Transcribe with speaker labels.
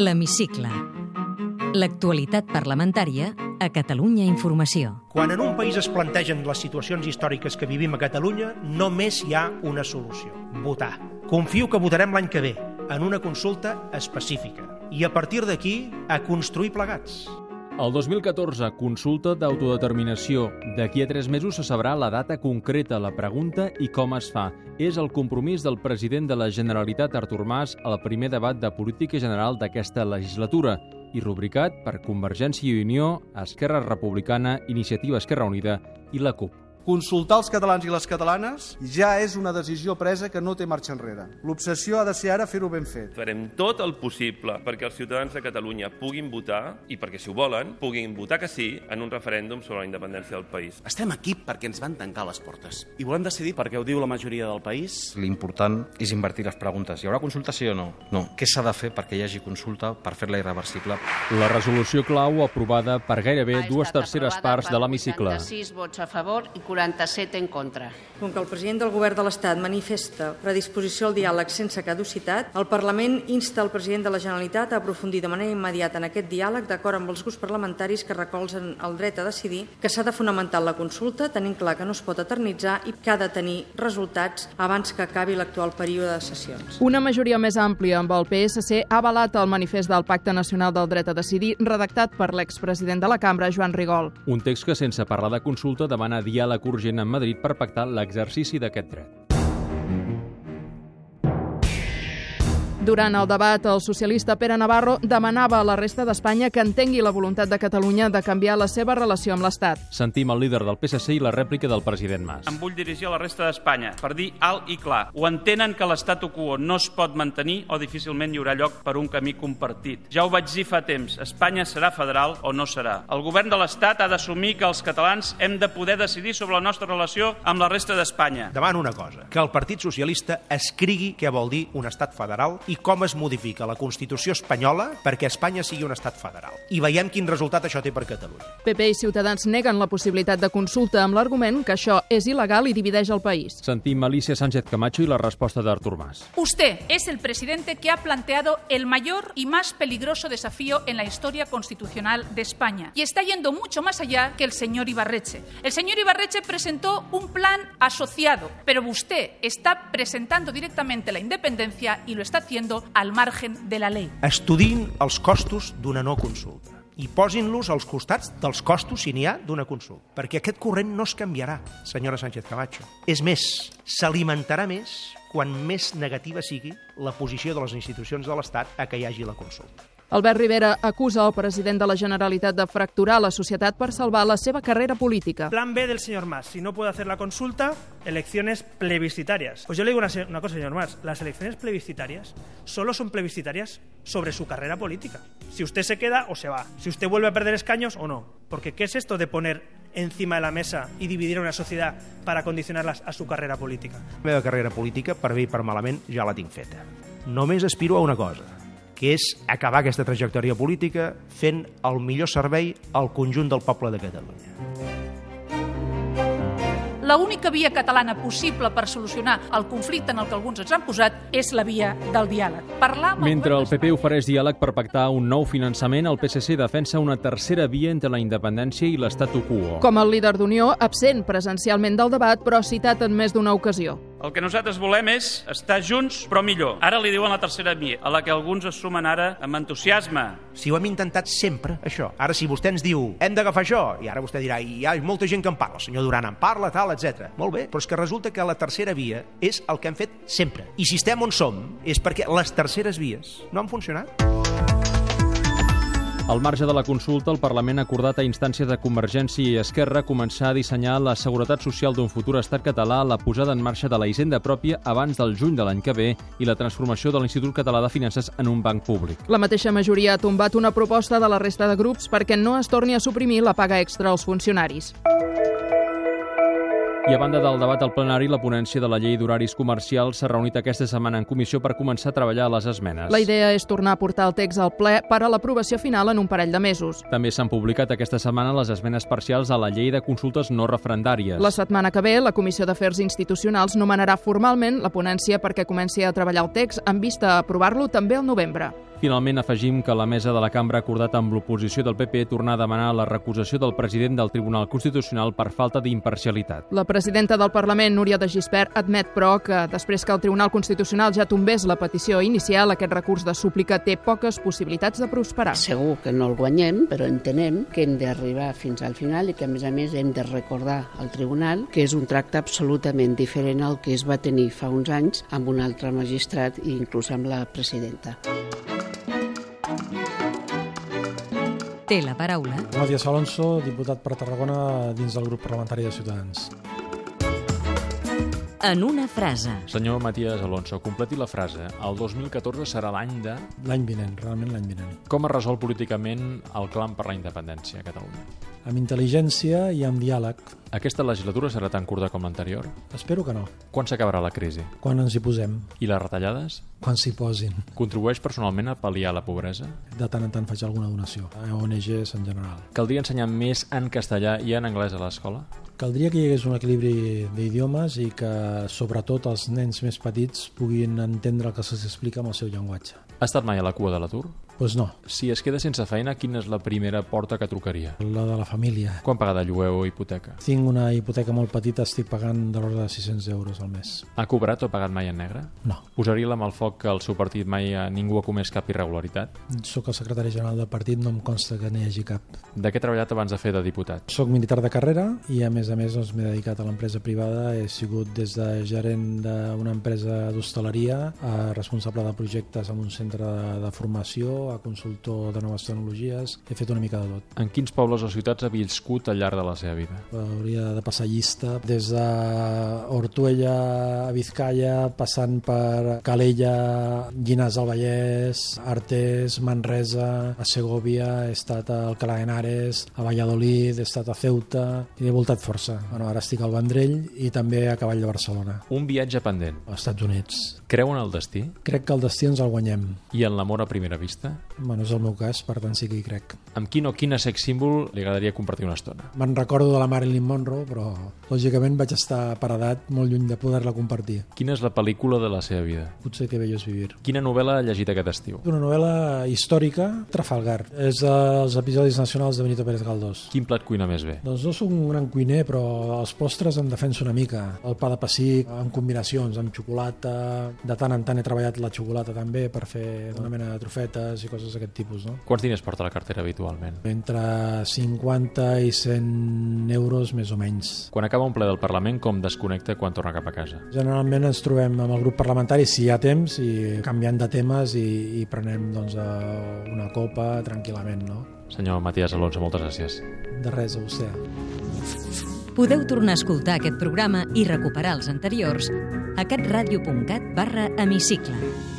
Speaker 1: L'Hemicicle. L'actualitat parlamentària a Catalunya Informació.
Speaker 2: Quan en un país es plantegen les situacions històriques que vivim a Catalunya, només hi ha una solució. Votar. Confio que votarem l'any que ve, en una consulta específica. I a partir d'aquí, a construir plegats.
Speaker 3: El 2014, consulta d'autodeterminació. D'aquí a tres mesos se sabrà la data concreta, la pregunta i com es fa. És el compromís del president de la Generalitat, Artur Mas, al primer debat de política general d'aquesta legislatura i rubricat per Convergència i Unió, Esquerra Republicana, Iniciativa Esquerra Unida i la CUP.
Speaker 4: Consultar els catalans i les catalanes ja és una decisió presa que no té marxa enrere. L'obsessió ha de ser ara fer-ho ben fet.
Speaker 5: Farem tot el possible perquè els ciutadans de Catalunya puguin votar i perquè, si ho volen, puguin votar que sí en un referèndum sobre la independència del país.
Speaker 6: Estem aquí perquè ens van tancar les portes i volem decidir perquè ho diu la majoria del país.
Speaker 7: L'important és invertir les preguntes. Hi haurà consulta sí o no? No. Què s'ha de fer perquè hi hagi consulta per fer-la irreversible?
Speaker 3: La resolució clau aprovada per gairebé dues terceres parts de l'hemicicle.
Speaker 8: 46 vots a favor i 47 en contra.
Speaker 9: Com que el president del Govern de l'Estat manifesta predisposició al diàleg sense caducitat, el Parlament insta el president de la Generalitat a aprofundir de manera immediata en aquest diàleg d'acord amb els grups parlamentaris que recolzen el dret a decidir, que s'ha de fonamentar la consulta tenint clar que no es pot eternitzar i que ha de tenir resultats abans que acabi l'actual període de sessions.
Speaker 10: Una majoria més àmplia amb el PSC ha avalat el manifest del Pacte Nacional del Dret a Decidir redactat per l'expresident de la cambra, Joan Rigol.
Speaker 3: Un text que, sense parlar de consulta, demana diàleg urgent amb Madrid per pactar l'exercici d'aquest dret.
Speaker 10: Durant el debat, el socialista Pere Navarro demanava a la resta d'Espanya que entengui la voluntat de Catalunya de canviar la seva relació amb l'Estat.
Speaker 3: Sentim el líder del PSC i la rèplica del president Mas.
Speaker 11: Em vull dirigir a la resta d'Espanya per dir alt i clar. Ho entenen que l'estat quo no es pot mantenir o difícilment hi haurà lloc per un camí compartit. Ja ho vaig dir fa temps, Espanya serà federal o no serà. El govern de l'Estat ha d'assumir que els catalans hem de poder decidir sobre la nostra relació amb la resta d'Espanya.
Speaker 2: Demano una cosa, que el Partit Socialista escrigui què vol dir un estat federal i com es modifica la Constitució espanyola perquè Espanya sigui un estat federal. I veiem quin resultat això té per Catalunya.
Speaker 10: PP i Ciutadans neguen la possibilitat de consulta amb l'argument que això és il·legal i divideix el país.
Speaker 3: Sentim Alicia Sánchez Camacho i la resposta d'Artur Mas.
Speaker 12: Usted es el presidente que ha planteado el mayor y más peligroso desafío en la historia constitucional de España y está yendo mucho más allá que el señor Ibarreche. El señor Ibarreche presentó un plan asociado, pero usted está presentando directamente la independencia y lo está haciendo al margen de la ley.
Speaker 2: Estudiïn els costos d'una no consulta i posin-los als costats dels costos, si n'hi ha, d'una consulta. Perquè aquest corrent no es canviarà, senyora Sánchez Camacho. És més, s'alimentarà més quan més negativa sigui la posició de les institucions de l'Estat a que hi hagi la consulta.
Speaker 10: Albert Rivera acusa el president de la Generalitat de fracturar la societat per salvar la seva carrera política.
Speaker 13: Plan B del señor Mas. Si no puede hacer la consulta, elecciones plebiscitarias. Pues yo le digo una, una cosa, señor Mas. Las elecciones plebiscitarias solo son plebiscitarias sobre su carrera política. Si usted se queda o se va. Si usted vuelve a perder escaños o no. Porque ¿qué es esto de poner encima de la mesa y dividir una sociedad para condicionarlas a su carrera política?
Speaker 2: La meva carrera política, per bé i per malament, ja la tinc feta. Només aspiro a una cosa, que és acabar aquesta trajectòria política fent el millor servei al conjunt del poble de Catalunya.
Speaker 12: La única via catalana possible per solucionar el conflicte en el que alguns ens han posat és la via del diàleg. Parlar amb
Speaker 3: Mentre el PP ofereix diàleg per pactar un nou finançament, el PSC defensa una tercera via entre la independència i l'estat quo.
Speaker 10: Com el líder d'Unió, absent presencialment del debat, però citat en més d'una ocasió.
Speaker 11: El que nosaltres volem és estar junts, però millor. Ara li diuen la tercera via, a la que alguns es sumen ara amb entusiasme.
Speaker 2: Si ho hem intentat sempre, això. Ara, si vostè ens diu, hem d'agafar això, i ara vostè dirà, hi ha molta gent que en parla, el senyor Duran en parla, tal, etc. Molt bé, però és que resulta que la tercera via és el que hem fet sempre. I si estem on som, és perquè les terceres vies no han funcionat.
Speaker 3: Al marge de la consulta, el Parlament ha acordat a instàncies de Convergència i Esquerra començar a dissenyar la seguretat social d'un futur estat català, la posada en marxa de la hisenda pròpia abans del juny de l'any que ve i la transformació de l'Institut Català de Finances en un banc públic.
Speaker 10: La mateixa majoria ha tombat una proposta de la resta de grups perquè no es torni a suprimir la paga extra als funcionaris.
Speaker 3: I a banda del debat al plenari, la ponència de la llei d'horaris comercials s'ha reunit aquesta setmana en comissió per començar a treballar les esmenes.
Speaker 10: La idea és tornar a portar el text al ple per a l'aprovació final en un parell de mesos.
Speaker 3: També s'han publicat aquesta setmana les esmenes parcials a la llei de consultes no referendàries.
Speaker 10: La setmana que ve, la Comissió d'Afers Institucionals nomenarà formalment la ponència perquè comenci a treballar el text amb vista a aprovar-lo també al novembre.
Speaker 3: Finalment, afegim que la mesa de la cambra ha acordat amb l'oposició del PP tornar a demanar la recusació del president del Tribunal Constitucional per falta d'imparcialitat.
Speaker 10: La presidenta del Parlament, Núria de Gispert, admet, però, que després que el Tribunal Constitucional ja tombés la petició inicial, aquest recurs de súplica té poques possibilitats de prosperar.
Speaker 14: Segur que no el guanyem, però entenem que hem d'arribar fins al final i que, a més a més, hem de recordar al tribunal que és un tracte absolutament diferent al que es va tenir fa uns anys amb un altre magistrat i inclús amb la presidenta.
Speaker 1: Té la paraula
Speaker 15: Matías Alonso, diputat per Tarragona dins del grup parlamentari de Ciutadans.
Speaker 1: en una frase.
Speaker 3: Senyor Matías Alonso, completi la frase. El 2014 serà l'any de...
Speaker 15: L'any vinent, realment l'any vinent.
Speaker 3: Com es resol políticament el clam per la independència a Catalunya?
Speaker 15: Amb intel·ligència i amb diàleg.
Speaker 3: Aquesta legislatura serà tan curta com l'anterior?
Speaker 15: Espero que no,
Speaker 3: Quan s'acabarà la crisi?
Speaker 15: quan ens hi posem,
Speaker 3: I les retallades?
Speaker 15: quan s'hi posin.
Speaker 3: Contribueix personalment a pal·liar la pobresa?
Speaker 15: De tant en tant faig alguna donació, a ONGs en general.
Speaker 3: Caldria ensenyar més en castellà i en anglès a l'escola?
Speaker 15: Caldria que hi hagués un equilibri d'idiomes i que, sobretot, els nens més petits puguin entendre el que se'ls explica amb el seu llenguatge.
Speaker 3: Ha estat mai a la cua de l'atur?
Speaker 15: Doncs no,
Speaker 3: Si es queda sense feina, quina és la primera porta que trucaria?
Speaker 15: la de la família.
Speaker 3: Quan paga de lloguer o hipoteca?
Speaker 15: Tinc una hipoteca molt petita, estic pagant de l'ordre de 600 euros al mes.
Speaker 3: Ha cobrat o pagat mai en negre?
Speaker 15: No.
Speaker 3: Posaria la mà al foc que el seu partit mai eh, ningú ha comès cap irregularitat?
Speaker 15: Soc el secretari general del partit, no em consta que n'hi hagi cap.
Speaker 3: De què ha treballat abans de fer de diputat?
Speaker 15: Soc militar de carrera i, a més a més, doncs, m'he dedicat a l'empresa privada. He sigut des de gerent d'una empresa d'hostaleria a responsable de projectes en un centre de, de formació, a consultor de noves tecnologies. He fet una mica de tot.
Speaker 3: En quins pobles o ciutats ha viscut al llarg de la seva vida?
Speaker 15: Hauria de passar llista des de Ortuella a Vizcaya, passant per Calella, Llinars del Vallès, Artés, Manresa, a Segovia, he estat a Alcalá de Henares, a Valladolid, he estat a Ceuta i he voltat força. Bueno, ara estic al Vendrell i també a Cavall de Barcelona,
Speaker 3: Un viatge pendent.
Speaker 15: als Estats Units.
Speaker 3: Creu en el destí
Speaker 15: Crec que el destí ens el guanyem.
Speaker 3: i en l'amor a primera vista?
Speaker 15: Bueno, és el meu cas, per tant sí que hi crec.
Speaker 3: Amb quin o quina sex símbol li agradaria compartir una estona?
Speaker 15: Me'n recordo de la Marilyn Monroe, però lògicament vaig estar paredat molt lluny de poder-la compartir.
Speaker 3: Quina és la pel·lícula de la seva vida?
Speaker 15: Potser que bello és vivir.
Speaker 3: Quina novel·la ha llegit aquest estiu?
Speaker 15: Una novel·la històrica, Trafalgar. És dels episodis nacionals de Benito Pérez Galdós.
Speaker 3: Quin plat cuina més bé?
Speaker 15: Doncs no sóc un gran cuiner, però els postres em defenso una mica. El pa de pessic, amb combinacions, amb xocolata... De tant en tant he treballat la xocolata també per fer una mena de trofetes i coses d'aquest tipus, no?
Speaker 3: Quants diners porta a la cartera habitualment?
Speaker 15: Entre 50 i 100 euros, més o menys.
Speaker 3: Quan acaba un ple del Parlament, com desconnecta quan torna cap a casa?
Speaker 15: Generalment ens trobem amb el grup parlamentari si hi ha temps i canviant de temes i, i prenem doncs, eh, una copa tranquil·lament, no?
Speaker 3: Senyor Matías Alonso, moltes gràcies.
Speaker 15: De res, a vostè.
Speaker 1: Podeu tornar a escoltar aquest programa i recuperar els anteriors a catradio.cat barra hemicicle.